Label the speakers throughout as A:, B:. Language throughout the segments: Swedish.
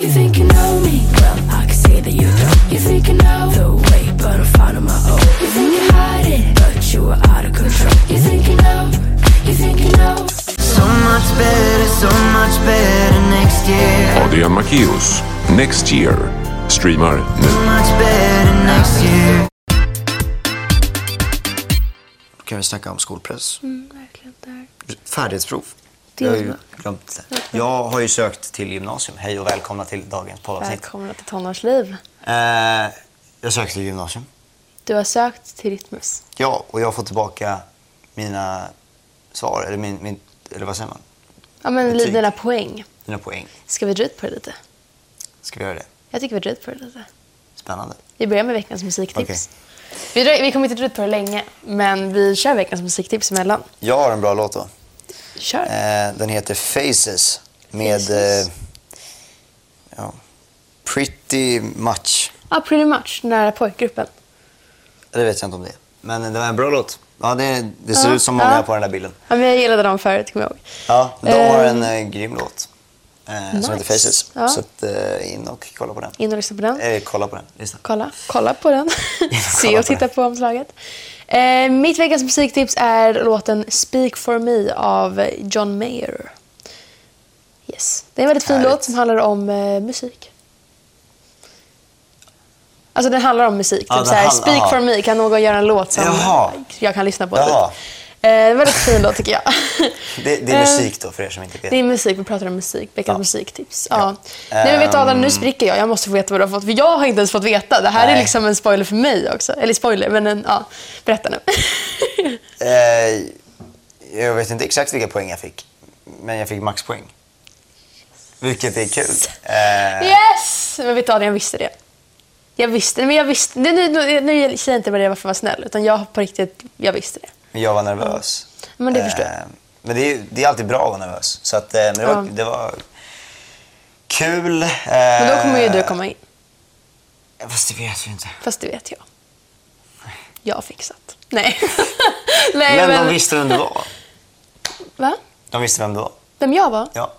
A: You think you know me? Well, I can see that you don't. You think you know the way, but I'm finding my own. You think you hide it, but you are out of control. You think you know? You think you know?
B: So much better, so much better next year.
C: Adrian Macchius, Next Year, streamar nu.
B: So much better next year.
D: kan vi snacka om skolpress.
E: Mm, verkligen. Där.
D: Färdighetsprov.
E: Det
D: jag har
E: är
D: ju
E: bra.
D: glömt det. Jag har ju sökt till gymnasium. Hej och välkomna till dagens poddavsnitt.
E: Välkomna till tonårsliv.
D: Eh, jag sökte till gymnasium.
E: Du har sökt till Rytmus.
D: Ja, och jag har fått tillbaka mina svar, eller, min, min, eller vad säger man?
E: Ja, men
D: Betyg.
E: dina poäng.
D: Mina poäng.
E: Ska vi dra ut på det lite?
D: Ska vi göra det?
E: Jag tycker vi drar ut på det lite.
D: Spännande.
E: Vi börjar med veckans musiktips. Vi, drar, vi kommer inte dra ut på det länge, men vi kör veckans musiktips emellan.
D: Jag har en bra låt då.
E: Kör.
D: Eh, den heter Faces med
E: Faces.
D: eh, ja, Pretty Much.
E: Ja, pretty much. Den här pojkgruppen.
D: Det vet jag inte om det är. Men det var en bra låt. Ja, det, det ser
E: Ja,
D: ut som många
E: ja.
D: på den där bilden.
E: Ja, men jag gillade dem förut, kommer jag ihåg.
D: Ja, de har
E: Eh,
D: en eh, grym låt eh,
E: nice.
D: som heter Faces.
E: Ja.
D: Så att, eh, in och kolla på den.
E: In och lyssna på den.
D: Eh, kolla på den. Lyssna.
E: Kolla, kolla på den. Se
D: Kolla
E: och
D: på den.
E: titta på omslaget. Eh, mitt veckans musiktips är låten Speak for me av John Mayer. Yes. Det är en väldigt fin
D: Härligt.
E: låt som handlar om eh, musik. Alltså den handlar om musik.
D: Ja,
E: typ
D: den
E: såhär,
D: handlar-
E: speak
D: aha.
E: for me, kan någon göra en låt som
D: Jaha.
E: jag kan lyssna på?
D: Jaha.
E: Typ. Eh, en väldigt fin låt tycker jag.
D: Det, det är
E: Eh,
D: musik då, för er som inte vet.
E: Det är musik, vi pratar om musik. Veckans
D: Ja. Ehm.
E: musiktips. Ja. Nej, men vet du Adam, nu spricker jag. Jag måste få veta vad du har fått. För jag har inte ens fått veta. Det här är
D: Nej.
E: liksom en spoiler för mig också. Eller spoiler, men en, ja. Berätta nu.
D: Eh, jag vet inte exakt vilka poäng jag fick, men jag fick maxpoäng. Vilket är kul. Eh,
E: yes! Men vet du Adam, jag visste det. Jag visste, men jag visste. Nu, nu, nu, nu säger jag inte bara det bara för att vara snäll. Utan jag på riktigt, jag visste det.
D: men jag var nervös. Eh,
E: Men det förstår jag.
D: men det är, det är alltid bra att vara nervös. Så att, eh, men det, var,
E: Ja.
D: det var kul. Eh,
E: Men då kommer ju
D: Ehm.
E: du komma in.
D: Fast det vet vi inte.
E: Fast det vet jag. Jag har fixat. Nej. Nej
D: Men,
E: men,
D: de visste vem du var.
E: Va?
D: De visste vem du var.
E: Vem jag var?
D: Ja.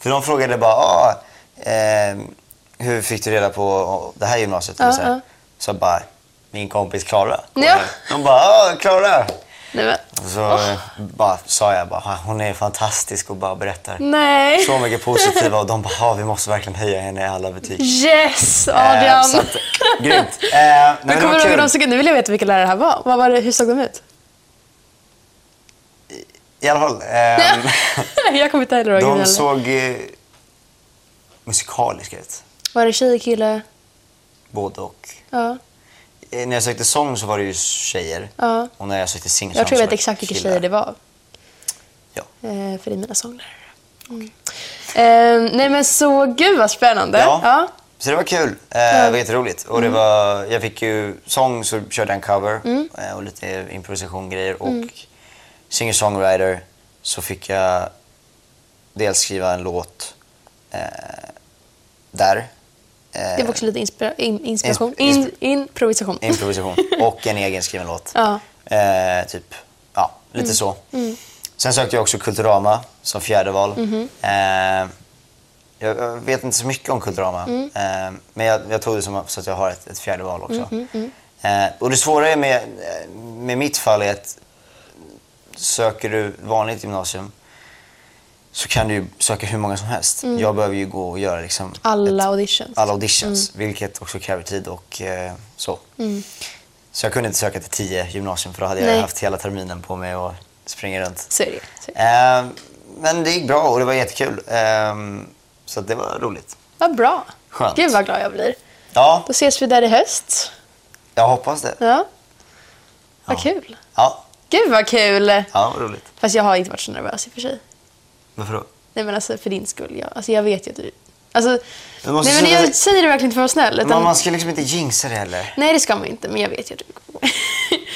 D: För de frågade bara, ah, eh, hur fick du reda på det här gymnasiet?
E: Ja,
D: Eller så, här.
E: ja.
D: så jag bara, min kompis Klara.
E: Ja.
D: De bara, ah, Klara!
E: Nej, men.
D: Och så eh, bara, sa jag bara, "Ah, hon är fantastisk och bara berättar
E: Nej.
D: så mycket positiva och de bara, ah, vi måste verkligen höja henne i alla betyg.
E: Yes,
D: Eh,
E: Adrian!
D: så att, grymt. Eh, nej, men
E: Men
D: det var
E: kommer du ihåg hur de
D: kul.
E: såg ut? Nu vill jag veta vilka lärare det här var. Vad var det, hur såg de ut?
D: I alla fall, ehm,
E: jag kommer inte heller ihåg. hur
D: de
E: det var.
D: såg eh, musikaliska ut.
E: Var det tjej, kille?
D: Både och.
E: Ja.
D: Eh, När jag sökte sång så var det ju tjejer.
E: Ja.
D: Och när jag sökte singsång
E: Jag tror jag
D: så
E: vet
D: var det
E: exakt vilka
D: killar.
E: tjejer det var.
D: Ja.
E: Eh, för det är mina sånglärare. Mm. Eh, nej men så, gud vad spännande.
D: Ja.
E: Ja.
D: Så det var kul. Eh, Det var jätteroligt. Och det
E: Mm.
D: var, jag fick ju sång så körde jag en cover eh, och lite improvisation grejer. Och
E: Mm.
D: singer-songwriter så fick jag dels skriva en låt eh, där.
E: Det var också lite inspira- in, inspiration.
D: Eh, Insp-
E: In,
D: insp-
E: improvisation.
D: Improvisation. Och en egen skriven låt.
E: Ja.
D: Eh, typ. Ja, lite så. Sen sökte jag också Kulturama som fjärde val. Eh, jag jag vet inte så mycket om Kulturama. Eh, men jag, jag tog det som så att jag har ett, ett fjärde val också. Eh, och det svåra är med, eh, med mitt fall är att söker du vanligt gymnasium så kan du ju söka hur många som helst. Jag behöver ju gå och göra liksom
E: Alla auditions.
D: alla auditions, vilket också kräver tid och eh, så. Så jag kunde inte söka till tio gymnasium för då hade jag
E: Mm. Nej.
D: haft hela terminen på mig och springa runt.
E: Så är det. Så är det.
D: Eh, men det gick bra och det var jättekul. Eh, så att det var roligt.
E: Vad bra.
D: Skönt.
E: Gud vad glad jag blir.
D: Ja,
E: Då ses vi där i höst.
D: jag hoppas det. Ja,
E: Ja. Vad kul.
D: ja,
E: Gud vad kul.
D: vad roligt.
E: Fast jag har inte varit så nervös i och för sig.
D: Varför då?
E: Nej men alltså för din skull. Jag, alltså jag vet ju att du... Alltså,
D: Du måste
E: nej men
D: säga-
E: jag säger det verkligen inte för att vara snäll. Utan,
D: Man, man ska liksom inte jinxa det heller.
E: Nej det ska man inte, men jag vet ju att du...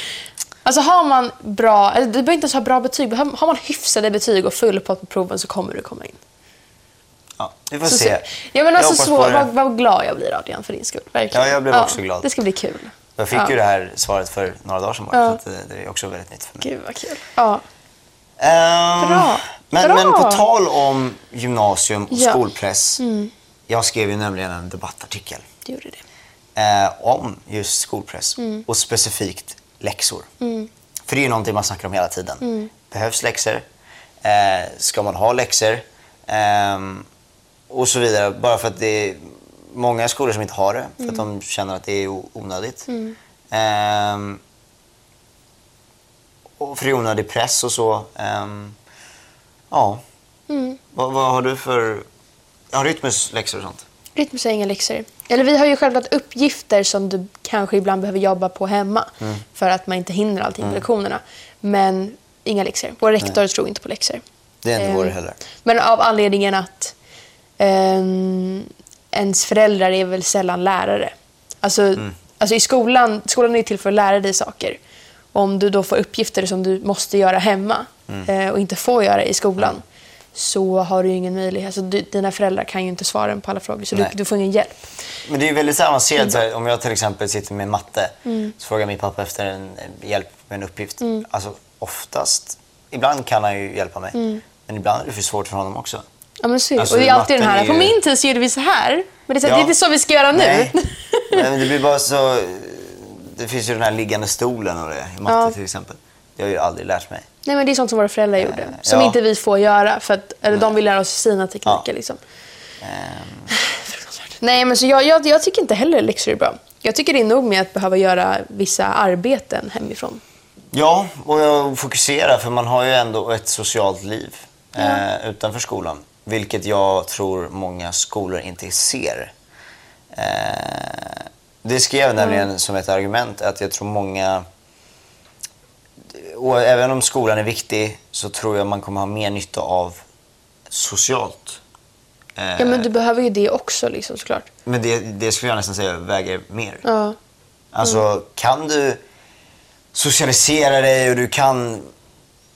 E: alltså har man bra... Eller, du behöver inte ens ha bra betyg. Har har man hyfsade betyg och full pott på proven så kommer du komma in.
D: Ja, vi får
E: Så,
D: se.
E: ja, men alltså,
D: hoppas
E: så,
D: på det.
E: vad, vad glad jag blir Adrian för din skull. Verkligen.
D: Ja, jag blev också glad.
E: Det ska bli kul.
D: Jag fick
E: ja.
D: ju det här svaret för några dagar sedan bara,
E: Ja.
D: så att eh, det är också väldigt nytt för mig.
E: Gud vad kul. Ja.
D: Ehm,
E: Bra.
D: Men,
E: Bra.
D: men på tal om gymnasium och
E: Ja. Mm.
D: skolpress Jag skrev ju nämligen en debattartikel
E: Du gjorde det.
D: eh, om just skolpress och specifikt läxor. För det är ju någonting man snackar om hela tiden. Behövs läxor? Eh, ska man ha läxor? Ehm, och så vidare. Bara för att det är många skolor som inte har det för att de känner att det är o- onödigt. Ehm, och för det är onödig press och så. Ehm, ja. Vad, vad har du för... Har du rytmusläxor och sånt?
E: Rytmus är inga läxor. Eller vi har ju självklart uppgifter som du kanske ibland behöver jobba på hemma för att man inte hinner allting på lektionerna. Men inga läxor. Vår rektor tror inte på läxor.
D: Det är inte
E: Ehm,
D: vår heller.
E: Men av anledningen att ehm, ens föräldrar är väl sällan lärare. Alltså,
D: Mm.
E: alltså i skolan, skolan är till för att lära dig saker. Om du då får uppgifter som du måste göra hemma
D: Mm.
E: eh, och inte får göra i skolan så har du ju ingen möjlighet. Alltså, du, dina föräldrar kan ju inte svara på alla frågor så du,
D: Nej.
E: du får ingen hjälp.
D: Men det är ju väldigt så här avancerat. Så här, om jag till exempel sitter med matte
E: Mm.
D: så frågar min pappa efter en eh, hjälp med en uppgift. Alltså oftast, ibland kan han ju hjälpa mig. Men ibland är det för svårt för honom också.
E: Ja, men så är Mm. det.
D: Alltså,
E: och det är alltid den
D: matten
E: här,
D: är ju-
E: på min tid så gjorde vi så här. Men det är, så här,
D: Ja.
E: det är inte så vi ska göra nu.
D: Nej. Nej, men det blir bara så... Det finns ju den här liggande stolen och det i matte
E: Ja.
D: till exempel. Det har jag ju aldrig lärt mig.
E: Nej, men det är sånt som våra föräldrar gjorde.
D: Eh,
E: Som
D: ja.
E: inte vi får göra. För att, eller de vill lära oss sina tekniker.
D: Ja.
E: Liksom.
D: Ehm,
E: Nej, men så jag, jag, jag tycker inte heller läxor är bra. Jag tycker det är nog med att behöva göra vissa arbeten hemifrån.
D: Ja, och jag fokuserar för man har ju ändå ett socialt liv eh, utanför skolan. Vilket jag tror många skolor inte ser. Eh, det skrev jag nämligen som ett argument att jag tror många... Och även om skolan är viktig så tror jag man kommer ha mer nytta av socialt.
E: Ja, men du behöver ju det också liksom, såklart.
D: Men det, det skulle jag nästan säga väger mer.
E: Ja.
D: Alltså kan du socialisera dig och du kan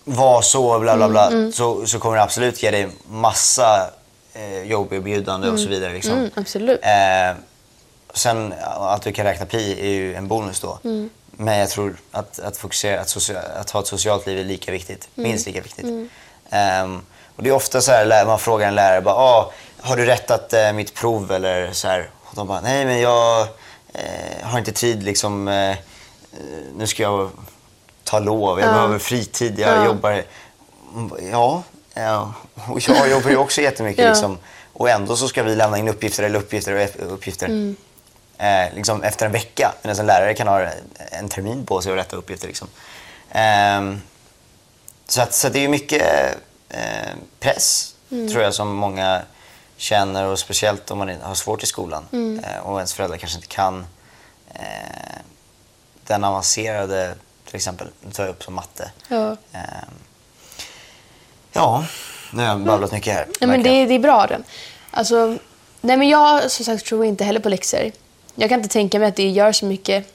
D: vara så bla bla
E: Mm,
D: bla så, så kommer det absolut ge dig massa eh, jobberbjudande och så vidare. Liksom.
E: Mm, absolut.
D: Eh, sen att du kan räkna pi är ju en bonus då. Men jag tror att, att fokusera, att, socia- att ha ett socialt liv är lika viktigt. Minst lika viktigt. Ehm, och det är ofta så här, lä- man frågar en lärare bara, ah, har du rättat eh, mitt prov eller så här. Och de bara, nej men jag eh, har inte tid liksom, eh, eh, nu ska jag ta lov, jag behöver fritid, jag
E: Ja.
D: jobbar. Ja, ja, och jag jobbar ju också jättemycket
E: Ja.
D: liksom. Och ändå så ska vi lämna in uppgifter eller uppgifter och eff- uppgifter.
E: Mm.
D: Eh, liksom efter en vecka. Medan en lärare kan ha en termin på sig att rätta uppgifter. Liksom. Ehm, så att, så att det är ju mycket eh, press,
E: Mm.
D: tror jag, som många känner. Och speciellt om man är- har svårt i skolan
E: Mm.
D: eh, och ens föräldrar kanske inte kan eh, den avancerade, till exempel, nu tar jag upp som matte.
E: Ja.
D: Ehm, ja, nu har jag babblat mycket här.
E: Nej, men
D: verkligen.
E: det, det är bra den. Alltså, nej, men jag som sagt tror inte heller på läxor. Jag kan inte tänka mig att det gör så mycket.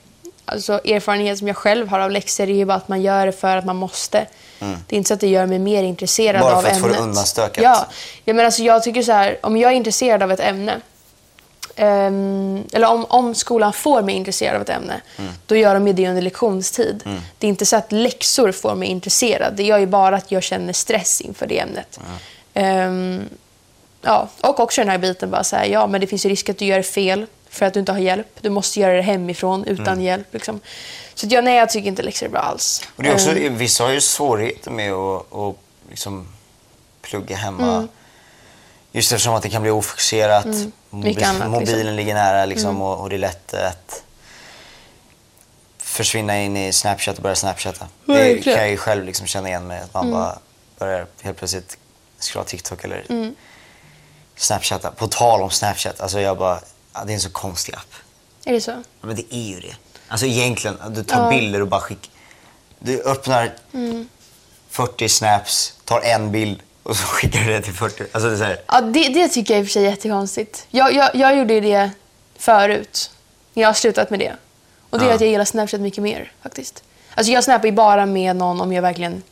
E: Alltså, erfarenhet som jag själv har av läxor är ju bara att man gör det för att man måste. Det är inte så att det gör mig mer intresserad
D: Bara för
E: av
D: att
E: ämnet.
D: få det undanstökat.
E: Ja. ja men alltså, jag tycker så här, om jag är intresserad av ett ämne Ehm, eller om, om skolan får mig intresserad av ett ämne,
D: Mm.
E: då gör de ju det under lektionstid. Det är inte så att läxor får mig intresserad. Det gör ju bara att jag känner stress inför det ämnet. Ehm, ja. Och också den här biten, bara så här, ja, men det finns ju risk att du gör fel för att du inte har hjälp. Du måste göra det hemifrån utan
D: Mm.
E: hjälp. Liksom. Så att jag, nej, jag tycker inte läxor är bra alls.
D: Och det är också,
E: Ehm,
D: vissa har ju svårigheter med att, att liksom plugga hemma.
E: Mm.
D: Just eftersom att det kan bli ofokuserat. Mobil,
E: Mycket annat,
D: mobilen
E: liksom.
D: ligger nära liksom, och, och det är lätt att försvinna in i Snapchat och börja snapchatta. Det kan
E: Verkligen. Mm.
D: jag ju själv liksom känna igen mig att man bara börjar helt plötsligt scrolla TikTok eller
E: Mm.
D: snapchatta. På tal om Snapchat, alltså jag bara, ja, det är en så konstig app.
E: Är det så?
D: Ja, men det är ju det. Alltså egentligen, att du tar bilder och bara skickar. Du öppnar
E: Mm.
D: 40 snaps, tar en bild och så skickar du det till 40. Alltså det är så här,
E: Ja, det, det tycker jag i och för sig är jättekonstigt. Jag, jag, jag gjorde ju det förut. Jag har slutat med det. Och det gör
D: Ja.
E: att jag gillar Snapchat mycket mer faktiskt. Alltså jag snappar ju bara med någon om jag verkligen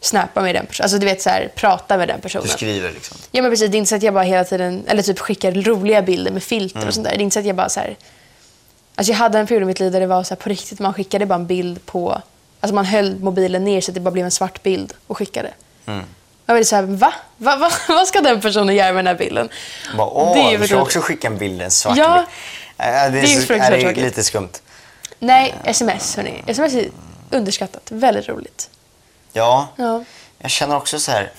E: snappar med den personen. Alltså du vet så här, pratar med den personen.
D: du skriver liksom.
E: Ja men precis, det är inte så att jag bara hela tiden, eller typ skickar roliga bilder med filter och sånt där. Det är inte så att jag bara så här... Alltså jag hade en period i mitt liv där det var så här på riktigt, man skickade bara en bild på... Alltså man höll mobilen ner så att det bara blev en svart bild och skickade. Man blir så här, va? Va, va? Vad ska den personen göra med den här bilden?
D: Bara, Åh,
E: Det är ju
D: du ska
E: verkligen-
D: också skicka en bild, en svart
E: Ja.
D: bild. Äh, det är,
E: är ju
D: så,
E: fruktansvärt
D: är det är
E: tråkigt.
D: lite skumt.
E: Nej, sms hörni. Sms är underskattat. Väldigt roligt.
D: Ja,
E: Ja.
D: jag känner också så här...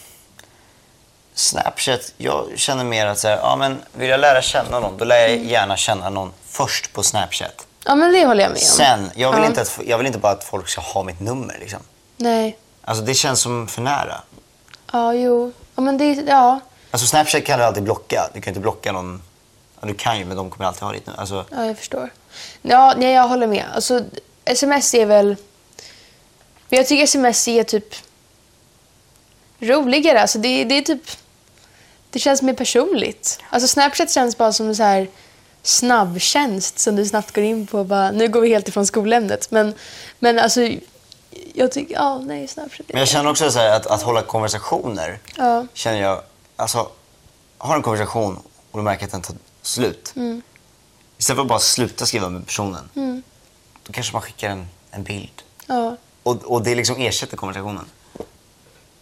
D: Snapchat, jag känner mer att så här, ja, men vill jag lära känna någon, då lär jag
E: Mm.
D: gärna känna någon först på Snapchat.
E: Ja, men det håller jag med om.
D: Sen, jag vill,
E: Ja.
D: inte att, jag vill inte bara att folk ska ha mitt nummer. Liksom.
E: Nej.
D: Alltså, det känns som för nära.
E: Ja, jo. Ja, men det... Ja.
D: Alltså, Snapchat kan du alltid blocka. Du kan inte blocka någon. Ja, du kan ju, men de kommer alltid ha ditt nummer. Alltså,
E: Ja, jag förstår. Ja, nej, jag håller med. Alltså, sms är väl... Men jag tycker sms är typ roligare. Alltså, det, det är typ... Det känns mer personligt. Alltså, Snapchat känns bara som en så här snabbtjänst som du snabbt går in på. och Bara, nu går vi helt ifrån skolämnet. Men, men alltså, jag tycker... Ja, nej, Snapchat är...
D: Men jag känner också så här att, att hålla konversationer.
E: Ja.
D: Känner jag, alltså, har en konversation och du märker att den tar slut.
E: Mm.
D: Istället för att bara sluta skriva med personen. Då kanske man skickar en, en bild.
E: Ja.
D: Och, och det liksom ersätter konversationen.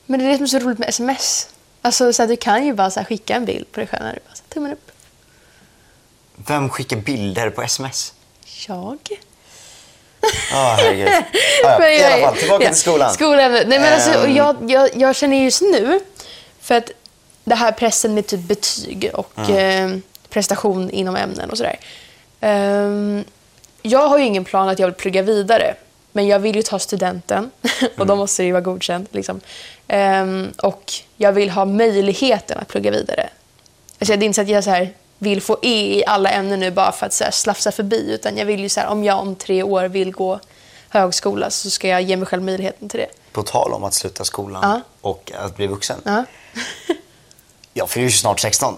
E: Men det är det som är så roligt med sms. Alltså, så här, du kan ju bara så här, skicka en bild på dig själv när du bara så här, tummen upp.
D: Vem skickar bilder på sms?
E: Jag.
D: Ja, herregud. Ah, ja. I alla fall, tillbaka
E: Ja,
D: till skolan.
E: Skolämnet. Nej, men alltså,
D: Ehm.
E: jag, jag, jag känner just nu, för att det här pressen med typ betyg och eh, prestation inom ämnen och sådär. Ehm, jag har ju ingen plan att jag vill plugga vidare, men jag vill ju ta studenten och då måste det ju vara godkänt. Liksom. Ehm, och jag vill ha möjligheten att plugga vidare. Alltså, det är inte så att jag så här, vill få E i alla ämnen nu bara för att så här, slafsa förbi. Utan jag vill ju så här, om jag om tre år vill gå högskola så ska jag ge mig själv möjligheten till det.
D: På tal om att sluta skolan
E: Ja.
D: och att bli vuxen.
E: Ja.
D: Jag fyller ju snart 16.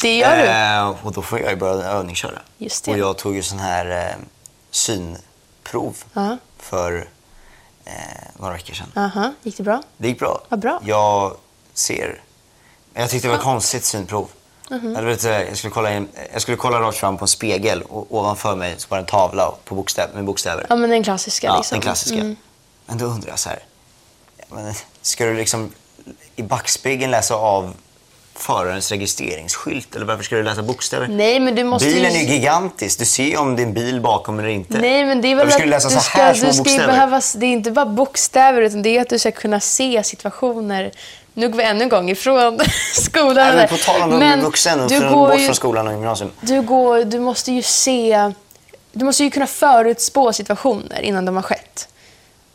E: Det gör du.
D: Eh, och då får jag ju börja övningsköra.
E: Just det.
D: Och jag tog ju sån här eh, synprov
E: Ja.
D: för eh, några veckor sedan.
E: Aha, gick det bra?
D: Det gick bra.
E: Vad bra.
D: Jag ser. Men Jag tyckte det var konstigt synprov.
E: Mhm.
D: Jag, vet, inte, jag, skulle kolla in, jag skulle kolla rakt fram på en spegel och ovanför mig så var det en tavla på bokstäver, med bokstäver.
E: Ja, men den klassiska.
D: Ja,
E: liksom.
D: den klassiska. Men då undrar jag så här. ja, Men, ska du liksom i backspegeln läsa av förarens registreringsskylt eller varför ska du läsa bokstäver?
E: Mm. Nej, men du måste
D: Bilen är
E: ju...
D: ju gigantisk. Du ser ju om det är en bil bakom eller inte.
E: Nej, men det är väl
D: Varför ska du läsa så här små
E: du ska ju
D: bokstäver?
E: behöva, Det är inte bara bokstäver, utan det är att du ska kunna se situationer. Nu går vi ännu en gång ifrån skolan.
D: Nej,
E: där.
D: men på tal om att bli vuxen och
E: du
D: från,
E: går
D: bort
E: ju
D: från skolan och gymnasium.
E: du, går, du måste ju se... Du måste ju kunna förutspå situationer innan de har skett.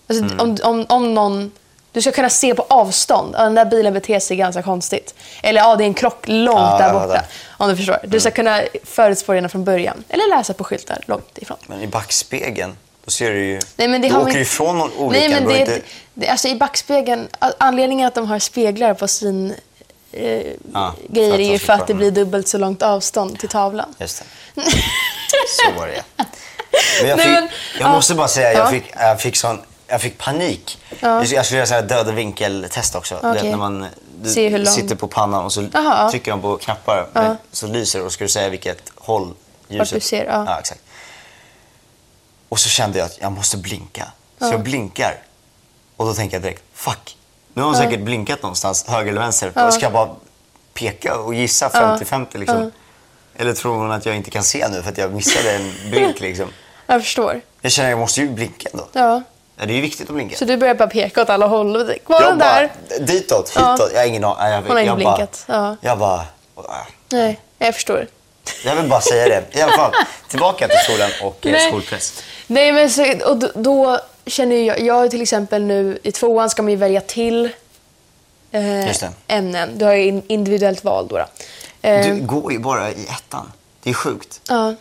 E: Alltså,
D: Mm.
E: om, om, om någon... Du ska kunna se på avstånd. Ja, den där bilen beter sig ganska konstigt. Eller ja, det är en krock långt
D: Ja,
E: där
D: jag
E: borta.
D: fattar. Mm.
E: Om du förstår. Du ska kunna förutspå redan från början. Eller läsa på skyltar långt ifrån.
D: Men i backspegeln, då ser du ju...
E: Nej, men det
D: du
E: har
D: åker
E: man-
D: ju ifrån någon olycka.
E: Nej, men
D: du har
E: det,
D: inte...
E: det, alltså I backspegeln, a- anledningen att de har speglar på sin eh,
D: Ja,
E: grejer
D: de
E: är ju
D: ska
E: för att
D: kunna-
E: det blir dubbelt så långt avstånd till tavlan.
D: Just det. Så var det men jag,
E: Nej,
D: fick,
E: men-
D: jag
E: ja.
D: måste bara säga, jag
E: Ja.
D: fick, jag fick, sån, jag fick panik. Jag skulle göra så här döda vinkeltest också. Du vet,
E: Okej.
D: när man du
E: Se hur lång-
D: sitter på pannan och så
E: Jaha, ja.
D: trycker de på knappar men, så lyser det och ska du säga vilket håll ljuset...
E: du ser, ja.
D: exakt. Och så kände jag att jag måste blinka. Så jag blinkar. Och då tänker jag direkt, fuck. Nu har hon säkert blinkat någonstans, höger eller vänster. Då Ska jag bara peka och gissa 50-50 liksom? Eller tror hon att jag inte kan se nu för att jag missade en blink liksom?
E: Jag förstår.
D: Jag känner att jag måste ju blinka ändå.
E: Ja.
D: Ja, det är ju viktigt att blinka.
E: Så du börjar bara peka åt alla håll. och det- Var
D: jag
E: den där?
D: bara, ditåt, hitåt.
E: Ja.
D: Jag har ingen aning. Jag,
E: Hon har
D: jag
E: inte
D: bara-
E: blinkat, ja.
D: Jag bara... "Åh,
E: Nej, jag förstår.
D: Jag vill bara säga det. I alla fall, tillbaka till skolan och eh,
E: Nej.
D: skolpress.
E: Nej, men så, och då, då känner ju jag, jag till exempel nu i tvåan ska man ju välja till eh,
D: Just det.
E: ämnen. Du har ju in, individuellt val då. då. Eh,
D: Du går ju bara i ettan. Det är sjukt.
E: Ja.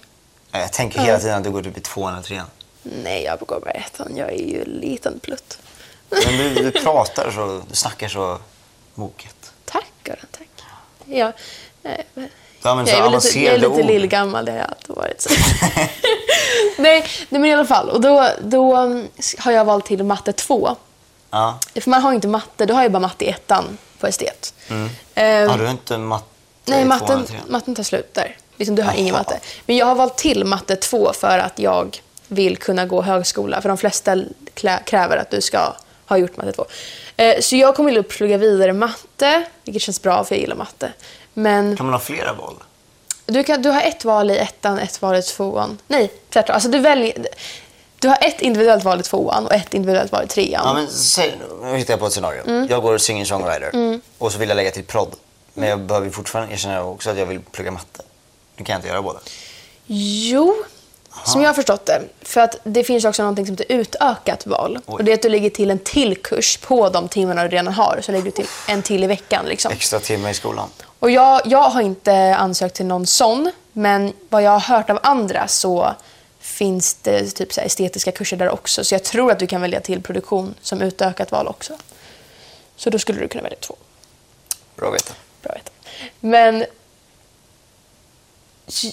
D: Ja, Jag tänker hela tiden att du går typ i tvåan eller trean.
E: Nej, jag går bara i ettan. Jag är ju en liten plutt.
D: Men du, du pratar så, du snackar så moget.
E: Tack, Göran. Tack. Jag,
D: Alltså,
E: nej, men-
D: Du använder
E: jag
D: så
E: är väl lite, jag är
D: avancerade
E: lite
D: ord.
E: lillgammal, det har jag alltid varit. Så. nej, nej, men i alla fall. Och då, då mm, har jag valt till matte 2.
D: Ja.
E: För man har ju inte matte, du har ju bara matte i ettan på estet. Ehm,
D: Har Mm. du inte matte
E: nej,
D: i
E: matten,
D: tvåan och trean?
E: matten tar slut där. Liksom, du har ingen
D: Jaha.
E: matte. Men jag har valt till matte 2 för att jag vill kunna gå högskola. För de flesta klä- kräver att du ska Har gjort matte 2. Eh, så jag kommer att plugga vidare matte, vilket känns bra för jag gillar matte. Men
D: Kan man ha flera val?
E: du, kan, du har ett val i ettan, ett val i tvåan. Nej, tvärtom. Alltså du väljer... Du har ett individuellt val i tvåan och ett individuellt val i trean.
D: Ja, men säg, nu hittar jag på ett scenario.
E: Mm.
D: Jag går singer-songwriter och så vill jag lägga till prodd. Men jag behöver ju fortfarande erkänna också att jag vill plugga matte. Nu kan jag inte göra båda.
E: Jo, som jag har förstått det. För att det finns också någonting som heter utökat val. Och det är att du lägger till en till kurs på de timmarna du redan har. Så lägger du till en till i veckan. Liksom.
D: Extra timmar i skolan.
E: Och jag, jag har inte ansökt till någon sån, men vad jag har hört av andra så finns det typ så här estetiska kurser där också. Så jag tror att du kan välja till produktion som utökat val också. Så då skulle du kunna välja två.
D: Bra att veta.
E: Bra vet. Men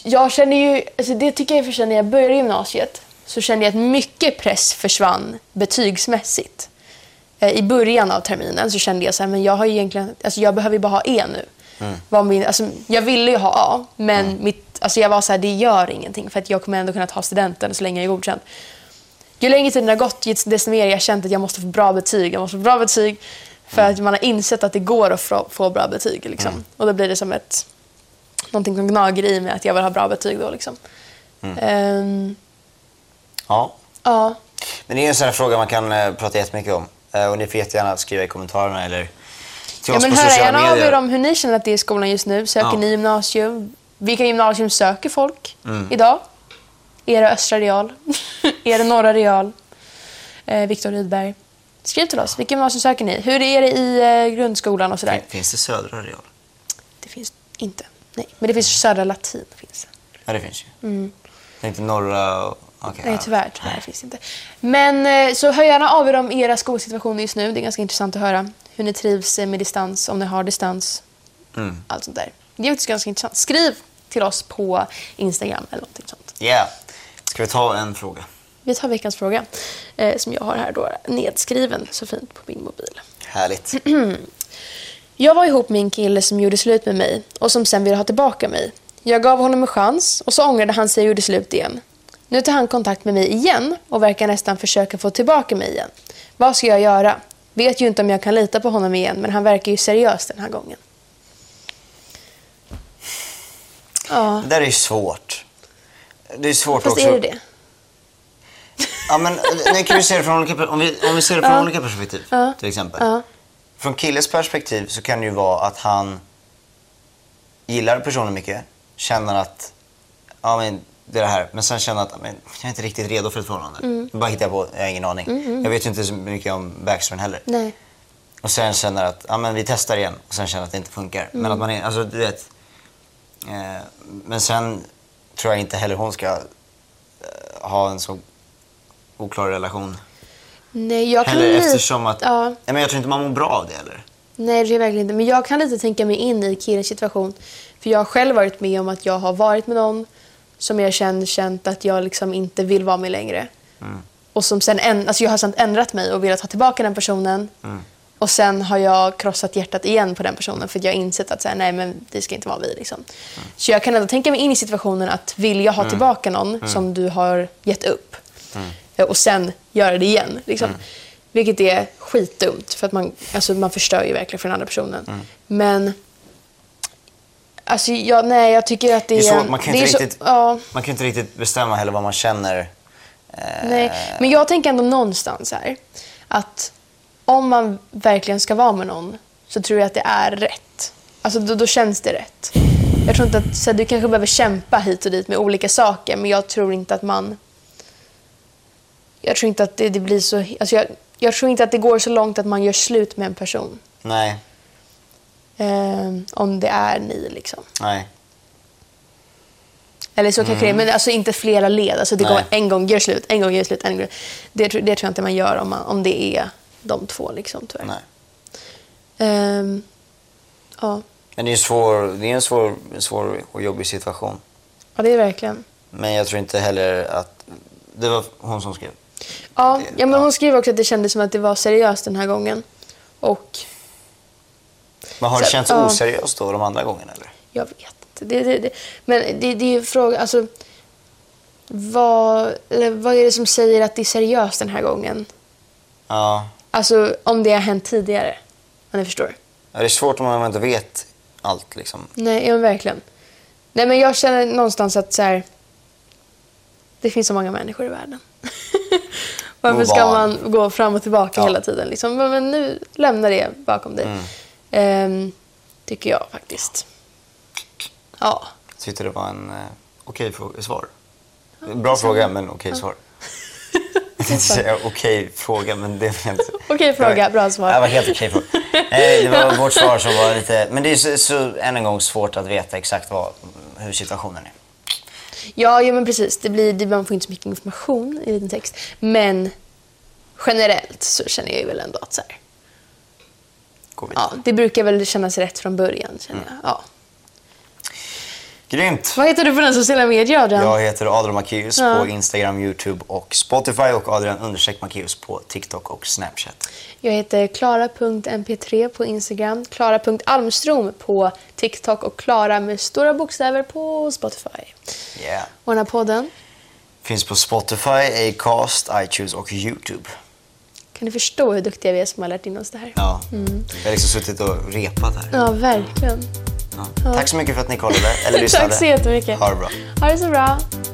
E: jag känner ju, alltså det tycker jag i och för sig när jag började gymnasiet, så kände jag att mycket press försvann betygsmässigt. Eh, I början av terminen så kände jag så här, men jag har ju egentligen, alltså jag behöver ju bara ha E nu. Var min, alltså jag ville ju ha A, men mitt, alltså jag var så här, det gör ingenting för att jag kommer ändå kunna ta studenten så länge jag är godkänd. Ju längre tiden har gått, desto mer har jag känt att jag måste få bra betyg. Jag måste få bra betyg för att man har insett att det går att få- få bra betyg. Liksom.
D: Mm.
E: Och då blir det som ett någonting som gnager i mig att jag vill ha bra betyg då. Liksom. Ehm,
D: Mm. Ja.
E: ja.
D: Men det är ju en sån här fråga man kan eh, prata jättemycket om. Eh, och ni får jättegärna skriva i kommentarerna eller till
E: ja,
D: oss
E: men
D: på
E: hör
D: sociala
E: gärna av
D: medier.
E: er om hur ni känner att det är i skolan just nu. Söker
D: Ja.
E: ni gymnasium? Vilka gymnasium söker folk
D: Mm.
E: idag? Är det Östra Real? är det Norra Real? Eh, Viktor Rydberg. Skriv till oss. Vilka gymnasium söker ni? Hur är det i eh, grundskolan och sådär?
D: Finns det södra real?
E: Det finns inte. Nej, men det finns Södra Latin. Finns. det.
D: Ja, det finns ju. Mm. Tänkte norra... och- Okej.
E: Nej,
D: ja.
E: tyvärr. tyvärr finns det inte. Men eh, så hör gärna av er om era skolsituationer just nu. Det är ganska intressant att höra hur ni trivs eh, med distans, om ni har distans. Allt sånt där. Det är faktiskt ganska intressant. Skriv till oss på Instagram eller någonting sånt.
D: Yeah. Ska vi ta en fråga?
E: Vi tar veckans fråga eh, som jag har här då nedskriven så fint på min mobil.
D: Härligt.
E: Mm. Jag var ihop med en kille som gjorde slut med mig och som sen ville ha tillbaka mig. Jag gav honom en chans och så ångrade han sig och gjorde slut igen. Nu tar han kontakt med mig igen och verkar nästan försöka få tillbaka mig igen. Vad ska jag göra? Vet ju inte om jag kan lita på honom igen men han verkar ju seriös den här gången. Ja,
D: Det där är ju svårt. Det är svårt
E: fast
D: också.
E: är det det?
D: Ja, men, nej, kan vi se det från olika, per- om, vi, om vi ser det från olika perspektiv, till exempel.
E: Ja.
D: Från killes perspektiv så kan det ju vara att han gillar personen mycket, känner att ja, men, det är det här, men sen känner att men, jag är inte riktigt redo för ett förhållande.
E: Mm.
D: Bara hittar jag på, jag har ingen aning. Jag vet ju inte så mycket om backstoryn heller.
E: Nej.
D: Och sen känner att ja, men vi testar igen och sen känner att det inte funkar.
E: Mm.
D: Men att man är, alltså du vet. Eh, men sen tror jag inte heller hon ska eh, ha en så oklar relation.
E: Nej, jag kan
D: Heller
E: lite...
D: eftersom att,
E: Ja.
D: nej, men jag tror inte man mår bra av det heller.
E: Nej, det är verkligen inte. Men jag kan lite tänka mig in i killens situation. För jag har själv varit med om att jag har varit med någon som jag känt, känt att jag liksom inte vill vara med längre. Och som sen, en, alltså jag har sen ändrat mig och velat ha tillbaka den personen.
D: Mm.
E: Och sen har jag krossat hjärtat igen på den personen för att jag har insett att så här, nej men det ska inte vara vi. Liksom.
D: Mm.
E: Så jag kan ändå tänka mig in i situationen att vill jag ha tillbaka någon
D: Mm.
E: som du har gett upp eh, och sen göra det igen. Liksom.
D: Mm.
E: Vilket är skitdumt för att man, alltså, man förstör ju verkligen för den andra personen.
D: Mm.
E: Men alltså, jag, nej, jag tycker att det är...
D: Det är så,
E: en-
D: man, kan
E: det
D: inte
E: är så-
D: riktigt,
E: ja.
D: man kan inte riktigt bestämma heller vad man känner.
E: Nej, men jag tänker ändå någonstans här att om man verkligen ska vara med någon så tror jag att det är rätt. Alltså då, då känns det rätt. Jag tror inte att så här, du kanske behöver kämpa hit och dit med olika saker men jag tror inte att man... Jag tror inte att det, det blir så... Alltså jag, jag tror inte att det går så långt att man gör slut med en person.
D: Nej,
E: Ehm, om det är ni liksom.
D: nej.
E: Eller så kanske det är, men alltså inte flera led. Alltså det
D: Mm. Nej.
E: går en gång, gör slut, en gång, gör slut, en gång. Det, tror- det tror jag inte man gör om, man, om det är de två liksom tyvärr.
D: nej.
E: Ehm, ja.
D: Men det är en svår, det är en svår, svår och jobbig situation.
E: ja, det är verkligen.
D: Men jag tror inte heller att... Det var hon som skrev.
E: Ja,
D: Det-
E: ja men
D: ja.
E: hon skrev också att det kändes som att det var seriöst den här gången. Och
D: Men har det
E: Så,
D: känts
E: ja.
D: oseriöst då de andra gångerna eller?
E: jag vet inte. Det, det, det. Men det, det är ju frågan, alltså. Vad, eller vad är det som säger att det är seriöst den här gången?
D: Ja.
E: Alltså om det har hänt tidigare. Ja, ni förstår.
D: Ja, det är svårt om man inte vet allt liksom.
E: Nej, ja, men verkligen. Nej, men jag känner någonstans att så här, det finns så många människor i världen. Varför
D: Move
E: ska
D: on.
E: man gå fram och tillbaka
D: Ja. Mm.
E: hela tiden? Liksom? Men- Men nu lämnar det bakom dig. Ehm, tycker jag faktiskt. Ja.
D: Jag tyckte det var en eh, okej frå- svar. Bra fråga, men okej svar. Jag tänkte säga okej fråga, men det var inte...
E: Okej fråga, bra svar.
D: Det var helt okej fråga. Eh, Det var vårt svar som var lite... Men det är så, så än en gång svårt att veta exakt vad, hur situationen är.
E: Ja, ja men precis. Det blir, det, man får inte så mycket information i en liten text. Men generellt så känner jag ju väl ändå att så här,
D: Går vidare.
E: ja, det brukar väl kännas rätt från början. Känner jag. Ja.
D: Grymt!
E: Vad heter du på den sociala medier, Adrian?
D: Jag heter Adrian Macéus
E: Ja.
D: på Instagram, YouTube och Spotify och Adrian understreck Macéus på TikTok och Snapchat.
E: Jag heter klara.mp3 på Instagram, klara.almstrom på TikTok och Klara med stora bokstäver på Spotify.
D: Yeah.
E: Och den här podden,
D: Finns på Spotify, Acast, iTunes och YouTube.
E: kan ni förstå hur duktiga vi är som har lärt in oss det här?
D: Ja. Vi har liksom suttit och repat här.
E: Ja, verkligen.
D: Ja. Tack så mycket för att ni kollade eller lyssnade.
E: Tack så jättemycket.
D: Ha det bra.
E: Ha det så bra.